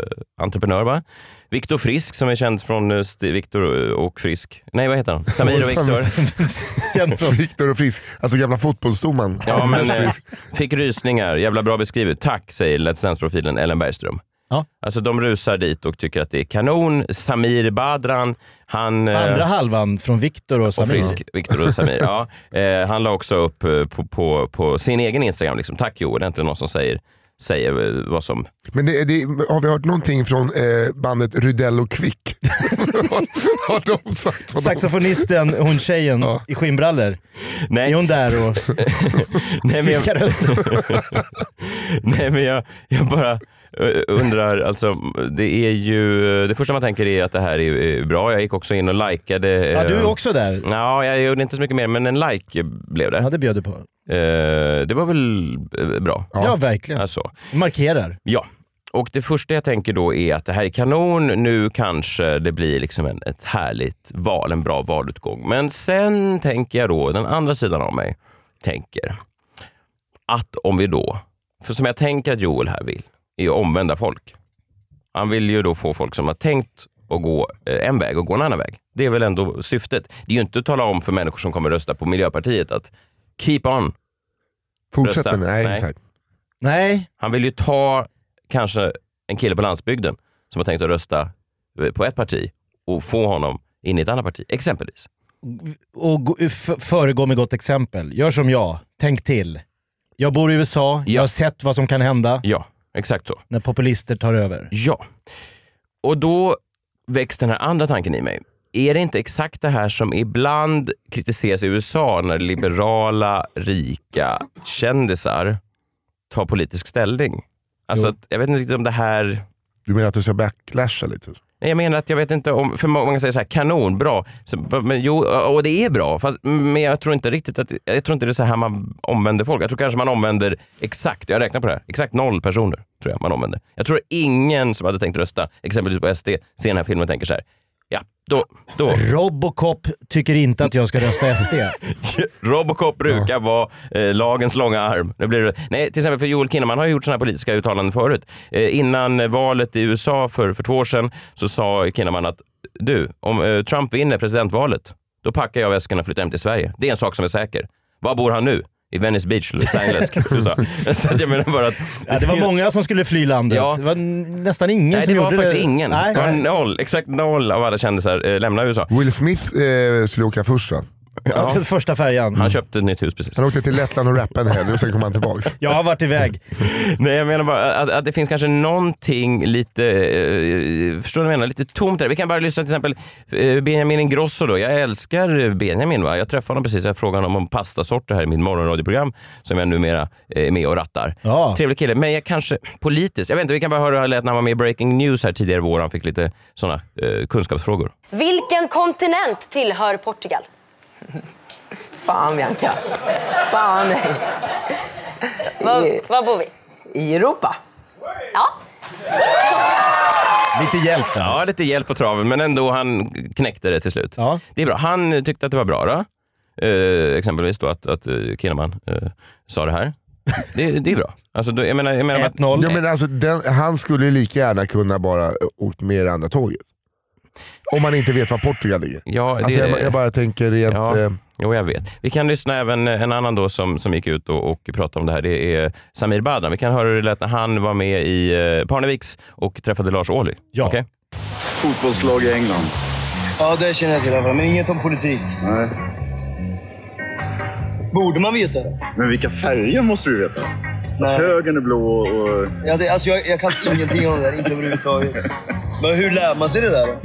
S5: entreprenör. va? Viktor Frisk som är känd från eh, Sti- Viktor och Frisk. Nej, vad heter han? Samir och Viktor.
S7: Viktor och Frisk, alltså gamla fotbollsdomaren.
S5: Ja, men, eh, fick rysningar. Jävla bra beskrivet. Tack, säger Let's Dance-profilen Ellen Bergström.
S6: Ja.
S5: Alltså de rusar dit och tycker att det är kanon. Samir Badran, han... eh,
S6: Andra halvan från Viktor och
S5: och
S6: Samir.
S5: frisk, Viktor och Samir. ja. eh, han la också upp eh, på, på, på sin egen Instagram, liksom, tack Joel, äntligen någon som säger, säger eh, vad som...
S7: Men det, det, har vi hört någonting från eh, bandet Rydell och Kvick? har, har de sagt vad de-
S6: Saxofonisten, hon tjejen i skinnbrallor.
S5: Nej.
S6: Är hon där och
S5: Nej, men jag-
S6: fiskar rösten?
S5: Nej men jag, jag bara eh, undrar, alltså, det, är ju, det första man tänker är att det här är eh, bra. Jag gick också in och likade.
S6: Ja, du är
S5: eh,
S6: också där.
S5: Ja, jag gjorde inte så mycket mer, men en like blev det.
S6: Ja, det bjöd du på.
S5: Eh, det var väl eh, bra?
S6: Ja, verkligen.
S5: Alltså.
S6: Markerar.
S5: Ja. Och det första jag tänker då är att det här är kanon. Nu kanske det blir liksom en, ett härligt val, en bra valutgång. Men sen tänker jag då, den andra sidan av mig tänker att om vi då, för som jag tänker att Joel här vill, är att omvända folk. Han vill ju då få folk som har tänkt att gå eh, en väg och gå en annan väg. Det är väl ändå syftet. Det är ju inte att tala om för människor som kommer rösta på Miljöpartiet att keep on.
S7: Fortsätt
S5: Rösta.
S7: med nej,
S5: Nej.
S7: exakt.
S6: Nej.
S5: Han vill ju ta kanske en kille på landsbygden som har tänkt att rösta eh, på ett parti och få honom in i ett annat parti, exempelvis.
S6: Och gå- f- föregå med gott exempel. Gör som jag. Tänk till. Jag bor i USA. Jag har sett vad som kan hända
S5: Ja, exakt så.
S6: när populister tar över.
S5: Ja. Och då väcks den här andra tanken i mig. Är det inte exakt det här som ibland kritiseras i USA när liberala, rika kändisar tar politisk ställning? Alltså att, jag vet inte riktigt om det här...
S7: Du menar att du ska backlasha lite?
S5: Nej, Jag menar att jag vet inte om... För många säger så här, kanon, bra. Så, men, jo, och det är bra, fast, men jag tror inte riktigt att... Jag tror inte det är så här man omvänder folk. Jag tror kanske man omvänder exakt, jag räknar på det här, exakt noll personer tror jag man omvänder. Jag tror ingen som hade tänkt rösta, exempelvis på SD, ser den här filmen och tänker så här, ja, då... då.
S6: Robocop tycker inte att jag ska rösta SD.
S5: Robocop brukar vara eh, lagens långa arm. Nu blir det, nej, till exempel för Joel Kinnaman har ju gjort sådana här politiska uttalanden förut. Eh, innan valet i USA för, för två år sedan så sa Kinnaman att du, om eh, Trump vinner presidentvalet, då packar jag väskorna och flyttar hem till Sverige. Det är en sak som är säker. Var bor han nu? I Venice Beach, Los Angeles, USA. Så att jag menar bara att...
S6: Ja, det var många som skulle fly landet.
S5: Ja.
S6: Det var n- nästan ingen
S5: Nej,
S6: som
S5: det var
S6: gjorde
S5: faktiskt
S6: det.
S5: ingen.
S6: Nej.
S5: Det var noll, exakt noll av alla kändisar eh, lämnar USA.
S7: Will Smith eh, skulle åka först va?
S5: Ja.
S6: Också Första färjan.
S5: Han köpte ett nytt hus precis.
S7: Han åkte till Lettland och rappade en helg och sen kom han tillbaks.
S6: Jag har varit iväg.
S5: Nej, jag menar bara att, att det finns kanske någonting lite, eh, förstår du vad jag menar, lite tomt där. Vi kan bara lyssna till exempel eh, Benjamin Ingrosso då. Jag älskar Benjamin. Va? Jag träffade honom precis, jag frågade honom om pastasorter här i mitt morgonradioprogram som jag numera eh, är med och rattar.
S6: Ja.
S5: Trevlig kille, men jag kanske politiskt, jag vet inte, vi kan bara höra hur han lät när han var med i Breaking News här tidigare i vår. Han fick lite sådana eh, kunskapsfrågor.
S15: Vilken kontinent tillhör Portugal?
S16: Fan Bianca. Fan nej.
S15: Var, var bor vi?
S16: I Europa.
S15: Ja.
S6: Lite hjälp.
S5: Ja, lite hjälp på traven, men ändå han knäckte det till slut. Det är bra. Han tyckte att det var bra då. Eh, exempelvis då att, att eh, Kinnaman eh, sa det här. Det, det är bra. Alltså, då, jag menar, jag menar bara-
S7: Ja, men alltså, den, han skulle ju lika gärna kunna bara eh, åkt med det andra tåget. Om man inte vet var Portugal ligger.
S5: Ja, det-
S7: alltså jag, jag bara tänker rent...
S5: Ja,
S7: eh,
S5: jo, jag vet. Vi kan lyssna även eh, en annan då som, som gick ut och, och pratade om det här. Det är Samir Badran. Vi kan höra hur det lät när han var med i eh, Parneviks och träffade Lars Ohly. Ja.
S14: Fotbollslag i England.
S8: Ja, det känner jag till i alla fall, men inget om politik.
S14: Nej.
S8: Borde man veta det?
S14: Men vilka färger måste du veta?
S8: Nej.
S14: Högern är blå och...
S8: Ja, det alltså, jag, jag kan ingenting om det där, inte överhuvudtaget. Men hur lär man sig det där då?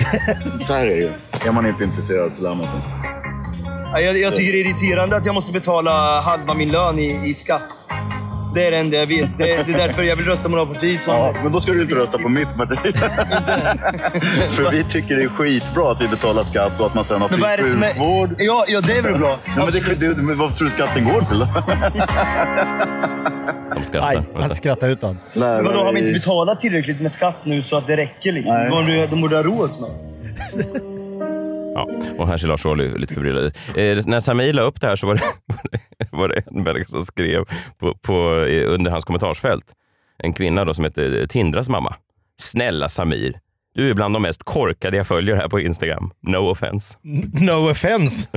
S14: Så här är det ju. Är man inte intresserad så lär man sig.
S8: Ja, Jag, jag tycker det är irriterande att jag måste betala halva min lön i, i skatt. Det är det enda jag vet. Det, det är därför jag vill rösta Moralparti. Ja,
S14: men då ska du inte rösta på mitt parti. För vi tycker det är skitbra att vi betalar skatt och att man sen har
S8: Men vad är det
S14: fri
S8: som är...
S14: sjukvård.
S8: Ja, ja, det är väl bra.
S14: Nej, men det, det, men vad tror du skatten går till då?
S5: De
S6: Nej, han skrattar ut honom.
S8: Men Vadå, har vi inte betalat tillräckligt med skatt nu så att det räcker liksom?
S5: Nej.
S8: De borde- De borde ha råd snart.
S5: Ja, och här ser Lars Ohly lite förbryllad ut. Eh, när Samir la upp det här så var det, var det en människa som skrev på, på, eh, under hans kommentarsfält. En kvinna då som heter Tindras mamma. Snälla Samir, du är bland de mest korkade jag följer här på Instagram. No offense.
S6: No offense.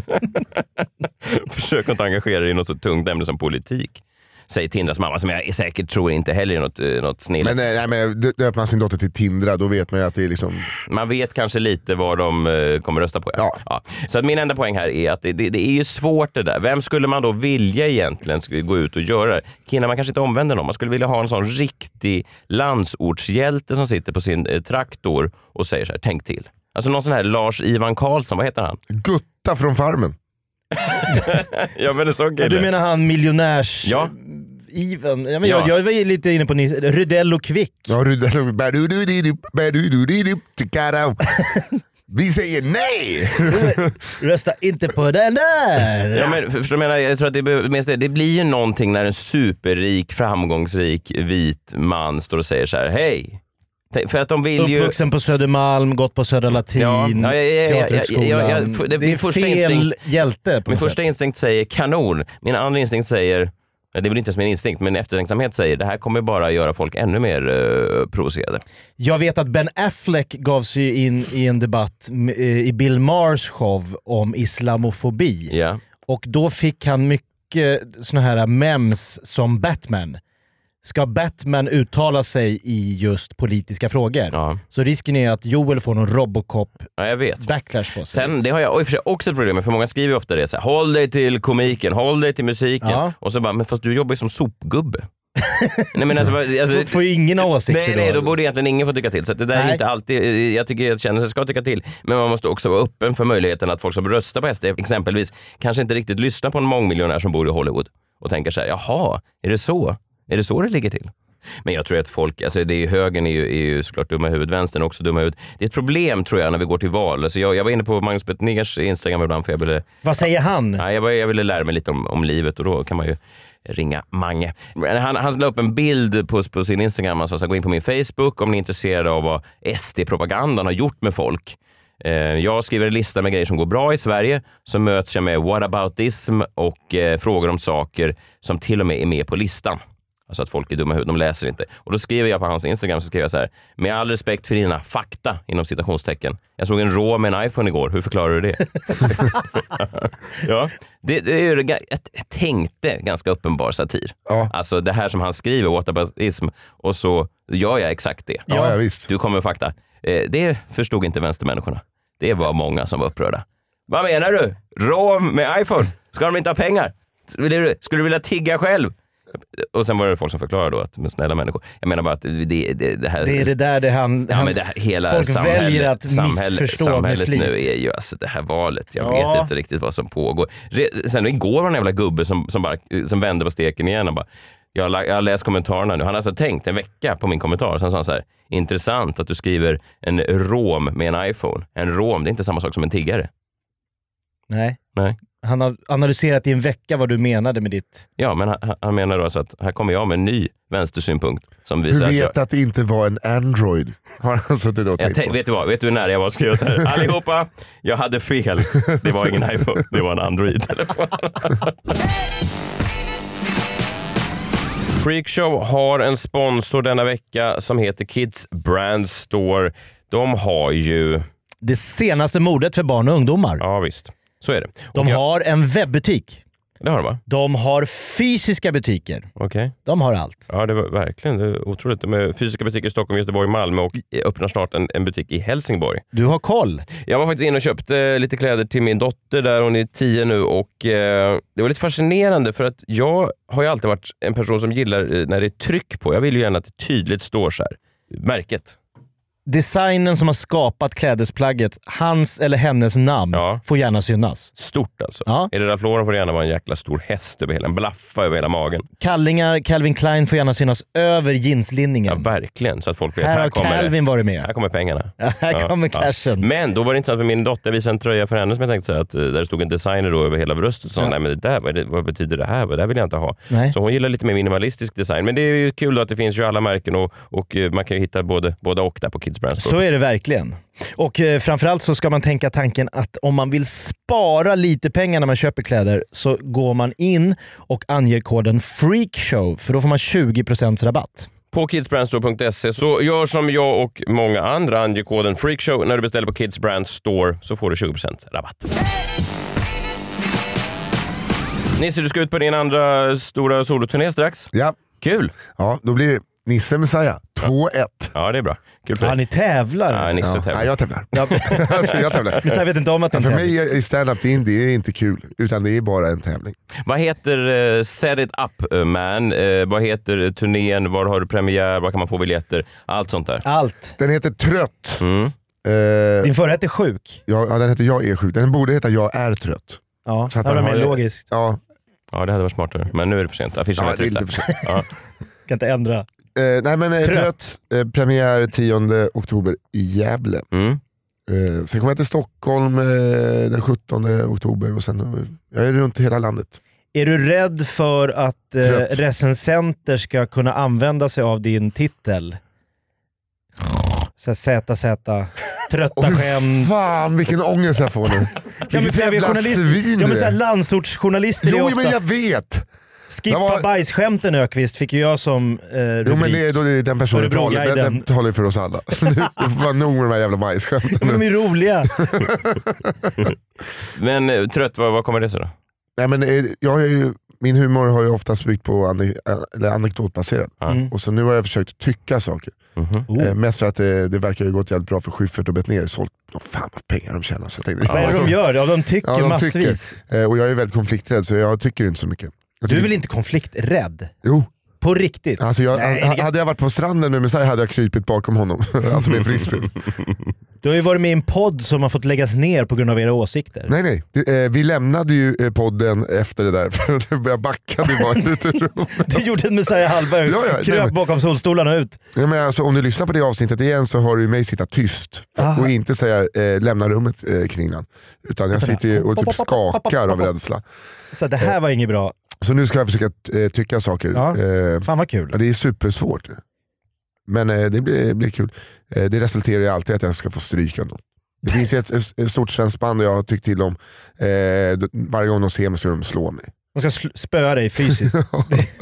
S5: Försök inte engagera dig i något så tungt ämne som politik. Säger Tindras mamma, som jag säkert tror inte heller är något, eh, något snille.
S7: men nej, nej, men eh, dö- döper man sin dotter till Tindra, då vet man ju att det är liksom...
S5: Man vet kanske lite vad de eh, kommer rösta på. Ja. Ja. Så att min enda poäng här är att det, det, det är ju svårt det där. Vem skulle man då vilja egentligen sk- gå ut och göra det? Kinna, man kanske inte omvänder någon. Man skulle vilja ha en sån riktig landsortshjälte som sitter på sin eh, traktor och säger så här, tänk till. Alltså någon sån här Lars-Ivan Karlsson, vad heter han?
S7: Gutta från Farmen.
S5: ja, men en sån
S6: Ja,
S5: kille.
S6: du menar han miljonärs...
S5: Ja.
S6: Iven. Ja, men
S5: Ja.
S6: Jag, jag var ju lite inne på Nils, Rydell och Kvick.
S7: Ja, Rydell och... badududidup, badududidup, tikara. Vi säger nej!
S6: Rösta inte på den där!
S5: Ja, men, för- förstår du vad jag, menar? jag tror att det, behöver- minst det, det blir ju någonting när en superrik, framgångsrik vit man står och säger så här, hej. Tänk- För att de vill ju...
S6: Uppvuxen på Södermalm, gått på Södra Latin,
S5: Ja, ja, ja, ja, ja,
S6: Teaterhögskolan.
S5: ja, ja, ja, för- det-
S6: det,
S5: min
S6: är
S5: första
S6: fel
S5: instinkt-
S6: hjälte på
S5: Min
S6: något
S5: första
S6: sätt.
S5: instinkt säger kanon. Min andra instinkt säger, ja, det är väl inte ens min instinkt, men eftertänksamhet säger det här kommer bara göra folk ännu mer eh, provocerade.
S6: Jag vet att Ben Affleck gav sig in i en debatt m- eh, i Bill Mars show om islamofobi.
S5: Ja.
S6: Och då fick han mycket såna här mems som Batman. Ska Batman uttala sig i just politiska frågor? Så risken är att Joel får någon Robocop-backlash
S5: Ja, jag vet.
S6: på sig.
S5: Sen, det har jag i och för sig också ett problem med, för många skriver ju ofta det så här, håll dig till komiken, håll dig till musiken.
S6: Ja.
S5: Och så bara, men fast du jobbar ju som sopgubbe. nej, men alltså, vad- alltså,
S6: Får- får ju ingen ha åsikter
S5: nej,
S6: då.
S5: nej, då borde egentligen ingen få tycka till. Så att det där är
S6: Nej.
S5: inte alltid, eh, jag tycker att kändisar ska tycka till, men man måste också vara öppen för möjligheten att folk som röstar på SD exempelvis kanske inte riktigt lyssnar på en mångmiljonär som bor i Hollywood och tänker så här, jaha, är det så? Är det så det ligger till? Men jag tror att folk, alltså det är ju, högern är ju, är ju såklart dumma i huvudet, vänstern är också dumma i huvudet. Det är ett problem tror jag när vi går till val. Alltså jag, jag var inne på Magnus Betnérs Instagram ibland för jag ville
S6: Vad säger han?
S5: Nej, jag, bara- jag ville lära mig lite om, om livet och då kan man ju ringa Mange. Men Han, han la upp en bild på, på sin Instagram. Han sa så här, gå in på min Facebook om ni är intresserade av vad SD-propagandan har gjort med folk. Eh, jag skriver en lista med grejer som går bra i Sverige. Så möts jag med whataboutism och eh, frågor om saker som till och med är med på listan. Alltså att folk är dumma i huvudet, de läser inte. Och då skriver jag på hans Instagram så skriver jag så här, med all respekt för dina fakta inom citationstecken. Jag såg en rå med en iPhone igår, hur förklarar du det? Ja. Det, det är ju ga- jag tänkte ganska uppenbar satir. Alltså det här som han skriver, whataboutism, och så gör jag exakt det.
S7: Ja, ja,
S5: Du kommer med fakta. Eh, Det förstod inte vänstermänniskorna. Det var många som var upprörda. Vad menar du? Rom med iPhone? Ska de inte ha pengar? Vill du- Skulle du vilja tigga själv? Och sen var det folk som förklarade då att, men snälla människor, jag menar bara att det, det, det här...
S6: Det är det där det han...
S5: Ja,
S6: han
S5: men det här, hela
S6: folk
S5: samhället,
S6: väljer att
S5: samhället,
S6: missförstå
S5: samhället
S6: med
S5: nu
S6: flit.
S5: är ju alltså det här valet. Jag
S6: Ja.
S5: vet inte riktigt vad som pågår. Re- Sen igår var det en jävla gubbe som, som, bara, som vände på steken igen och bara jag har, la- jag har läst kommentarerna nu. Han har alltså tänkt en vecka på min kommentar. Sen sa han så här, intressant att du skriver en rom med en iPhone. En rom, det är inte samma sak som en tiggare.
S6: Nej.
S5: Nej.
S6: Han har analyserat i en vecka vad du menade med ditt...
S5: Ja, men han, han menar då alltså att här kommer jag med en ny vänstersynpunkt som
S7: Du
S5: visar att jag,
S7: vet att det inte var en Android. Har han suttit och
S5: Jag
S7: tänkt
S5: te-
S7: på.
S5: vet du vad? Vet du hur nära jag var att skriva så här? Allihopa, jag hade fel. Det var ingen iPhone, det var en Android-telefon. Freakshow har en sponsor denna vecka som heter Kids Brand Store. De har ju
S6: det senaste mordet för barn och ungdomar.
S5: Ja visst, så är det.
S6: De har en webbutik.
S5: Det har de va?
S6: De har fysiska butiker.
S5: Okej.
S6: De har allt.
S5: Ja, det var verkligen det är otroligt. De är fysiska butiker i Stockholm, Göteborg, Malmö och öppnar snart en, en butik i Helsingborg.
S6: Du har koll.
S5: Jag var faktiskt inne och köpte lite kläder till min dotter där, hon är tio nu och eh, det var lite fascinerande för att jag har ju alltid varit en person som gillar eh, när det är tryck på. Jag vill ju gärna att det tydligt står så här. Märket.
S6: Designen som har skapat klädesplagget, hans eller hennes namn, får gärna synas.
S5: Stort alltså. Är det Ralph Lauren får det gärna vara en jäkla stor häst över hela, en blaffa över hela magen.
S6: Kallingar, Calvin Klein får gärna synas över jeanslinningen.
S5: Verkligen, så att folk vet.
S6: Här har
S5: kommer det.
S6: Calvin varit med.
S5: Här kommer pengarna.
S6: här kommer cashen.
S5: Men då var det intressant för min dotter, jag visade en tröja för henne som jag tänkte så här att eh, där det stod en designer då över hela bröstet. Så ja. Nej, men det där, vad, är det, vad betyder det här? Vad- Det här vill jag inte ha.
S6: Nej.
S5: Så hon gillar lite mer minimalistisk design. Men det är ju kul då att det finns ju alla märken och, och eh, man kan ju hitta både, både och där på Kids Brand Store.
S6: Så är det verkligen. Och eh, framförallt så ska man tänka tanken att om man vill spara lite pengar när man köper kläder så går man in och anger koden FREAKSHOW för då får man 20% rabatt.
S5: På kidsbrandstore.se så gör som jag och många andra, anger koden freakshow när du beställer på Kids Brand Store så får du 20% rabatt. Nisse, du ska ut på din andra stora soloturné strax.
S7: Ja.
S5: Kul!
S7: Ja, då blir det Nisse Messiah 2-1.
S5: Ja, det är bra. Kul för
S6: Ja, ni tävlar.
S5: Ja, Nisse
S7: ja.
S5: tävlar.
S7: Nej, jag tävlar. alltså, jag tävlar.
S6: Messiah vet inte om att
S7: ja,
S6: han
S7: För
S6: tävlar.
S7: mig är stand-up det är, inte- det är inte kul, utan det är bara en tävling.
S5: Vad heter eh, Set It Up eh, Man? Eh, vad heter turnén? Var har du premiär? Var kan man få biljetter? Allt sånt där. Mm.
S6: Allt.
S7: Den heter Trött.
S6: Mm.
S7: Eh,
S6: Din förra hette Sjuk.
S7: Ja, ja, den heter Jag är sjuk. Den borde heta Jag är trött.
S6: Ja,
S7: Så att
S6: det
S7: man
S6: var mer
S7: har-
S6: logiskt.
S7: Ja.
S5: Ja, det hade varit smartare. Men nu är det för sent. Affischen
S7: Ja,
S5: är
S7: det är
S5: tryckt.
S7: lite för
S5: Ja.
S6: Kan inte ändra.
S7: Eh, nej men eh, Trött, eh, premiär 10 oktober i Gävle.
S6: Mm.
S7: Eh, sen kommer jag till Stockholm eh, den 17 oktober och sen eh, jag är runt hela landet.
S6: Är du rädd för att eh,
S7: Trött.
S6: recensenter ska kunna använda sig av din titel? Så här, ZZ, trötta skämt.
S7: Fan vilken ångest jag får nu.
S6: Ja, men
S7: Vilket
S6: för jag är
S7: jävla
S6: journalist,
S7: svin
S6: ja,
S7: du
S6: men så här,
S7: är.
S6: landsortsjournalister är
S7: Jo,
S6: ofta...
S7: men jag vet!
S6: Skippa
S7: Det var-
S6: bajsskämten Ökvist fick ju jag som eh, rubrik.
S7: Jo men det är, då det är den personen talar, den,
S6: Örebroguiden.
S7: den talar ju för oss alla. Så nu det får vara nog med de här jävla bajsskämten.
S6: Men de är ju roliga.
S5: Men eh, trött, vad, vad kommer det sig då?
S7: Nej, men, eh, jag har ju, min humor har ju oftast byggt på ane, eller anekdotbaserad.
S5: Mm.
S7: Och så nu har jag försökt tycka saker.
S6: Mhm. Oh.
S7: Eh, mest för att det, det verkar ju gått jävligt bra för Schyffert och Betnér. Sålt oh, fan vad pengar de tjänar. Så jag tänkte,
S6: Vad är det de gör? Ja, de tycker
S7: alltså- de
S6: massvis.
S7: tycker. Eh, och jag är väldigt konflikträdd så jag tycker inte så mycket. Jag
S6: Du är
S7: tycker-
S6: väl inte konflikträdd?
S7: Jo.
S6: På riktigt?
S7: Alltså jag,
S6: Nej,
S7: ha- hade jag varit på stranden med Messiah hade jag krypit bakom honom. alltså min frisbee.
S6: Du har ju varit med i en podd som har fått läggas ner på grund av era åsikter.
S7: Nej nej, det, eh, vi lämnade ju eh, podden efter det där. för jag backade bara ut ur rummet.
S6: Du gjorde en Messiah Hallberg,
S7: Ja, ja, nej,
S6: kröp
S7: men-
S6: bakom solstolarna ut.
S7: Jag menar, alltså, om du lyssnar på det avsnittet igen så hör du mig sitta tyst och inte säga eh, lämna rummet eh, kring den. Utan jag sitter ju och typ skakar av rädsla.
S6: Så det här var inget bra.
S7: Så nu ska jag försöka eh, tycka saker.
S6: Ja,
S7: Eh,
S6: fan vad kul.
S7: ja, det är supersvårt. Men eh, det blir, blir kul. Eh, det resulterar ju alltid i att jag ska få stryka någon. Det finns ju ett, ett stort svenskt band jag har tyckt till om. Eh, d- varje gång de ser mig så de slår mig.
S6: De ska sl- spöa dig fysiskt.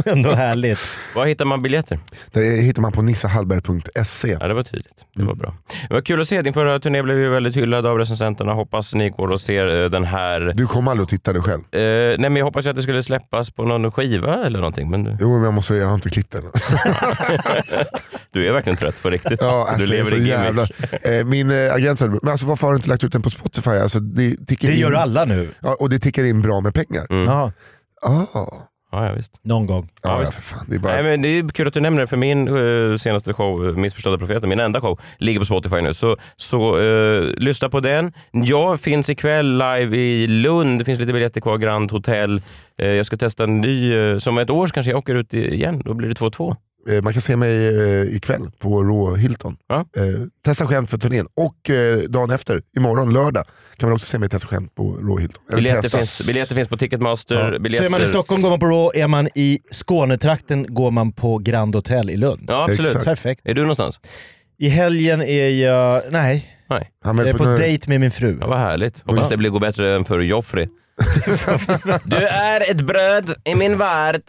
S6: det är ändå härligt.
S5: Var hittar man biljetter?
S7: Det hittar man på nissahallberg.se.
S5: Ja, det var tydligt. Det var bra. Det var kul att se. Din förra turné blev ju väldigt hyllad av recensenterna. Hoppas ni går och ser eh, den här.
S7: Du kommer aldrig att titta dig själv.
S5: Eh, nej, men jag hoppas ju att det skulle släppas på någon skiva eller någonting. Men du,
S7: Jo men jag, måste, jag har inte klippt den.
S5: du är verkligen trött på riktigt.
S7: Ja,
S5: du
S7: alltså, det är
S5: lever
S7: så
S5: i gimmick.
S7: jävla... eh, Min eh, agent sa, men alltså, varför har du inte lagt ut den på Spotify? Alltså, det tickar
S6: Det gör
S7: in,
S6: alla
S5: Mm.
S6: nu.
S7: Ja, och det tickar in bra med pengar.
S6: Ja.
S7: Ah.
S5: Ja, ja, visst.
S6: Någon gång.
S7: Ja, ja, för fan, det är bara...
S5: Nej, men det är kul att du nämner det, för min eh, senaste show, eh, Missförstådda profeten, min enda show, ligger på Spotify nu. Så, så eh, lyssna på den. Jag finns ikväll live i Lund. Det finns lite biljetter kvar, Grand Hotel. Eh, jag ska testa en ny. eh, som ett år så kanske jag åker ut i- igen. Då blir det 2-2.
S7: Eh, Man kan se mig eh, ikväll på Raw Hilton. Eh, Testa skämt för turnén. Och eh, dagen efter, imorgon lördag, kan man också se mig testa skämt på Raw Hilton. Eller
S5: Biljetter
S7: testa.
S5: finns, biljetter finns på Ticketmaster.
S6: Så
S5: Biljetter.
S6: är man i Stockholm går man på Raw, är man i Skånetrakten går man på Grand Hotel i Lund.
S5: Ja, absolut.
S6: Perfekt.
S5: Är du någonstans?
S6: I helgen är jag... Nej.
S5: Nej.
S6: Jag är på dejt med min fru.
S5: Ja, vad härligt. Hoppas
S6: Ja.
S5: det blir går bättre än för Joffrey. Du är ett bröd i min värld.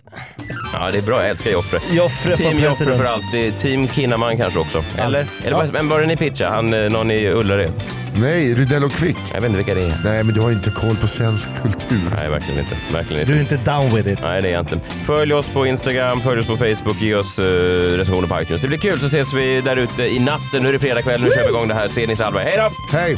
S5: Ja, det är bra. Jag älskar Joffre.
S6: Joffre för
S5: Team Joffre
S6: president.
S5: för alltid. Team Kinnaman kanske också. Eller? Eller vad- Men var det ni pitchade? Han, eh, någon i Ullared?
S7: Nej, Rydell och Quick.
S5: Jag vet inte vilka det är.
S7: Nej, men du har inte koll på svensk kultur.
S5: Nej, verkligen inte. Verkligen inte.
S6: Du är inte down with it.
S5: Nej, det är jag inte. Följ oss på Instagram, följ oss på Facebook, ge oss eh, recensioner på iTunes. Det blir kul så ses vi där ute i natten. Nu är det fredag kväll, nu kör vi igång det här. Ser ni Salberg. Hej då!
S7: Hej!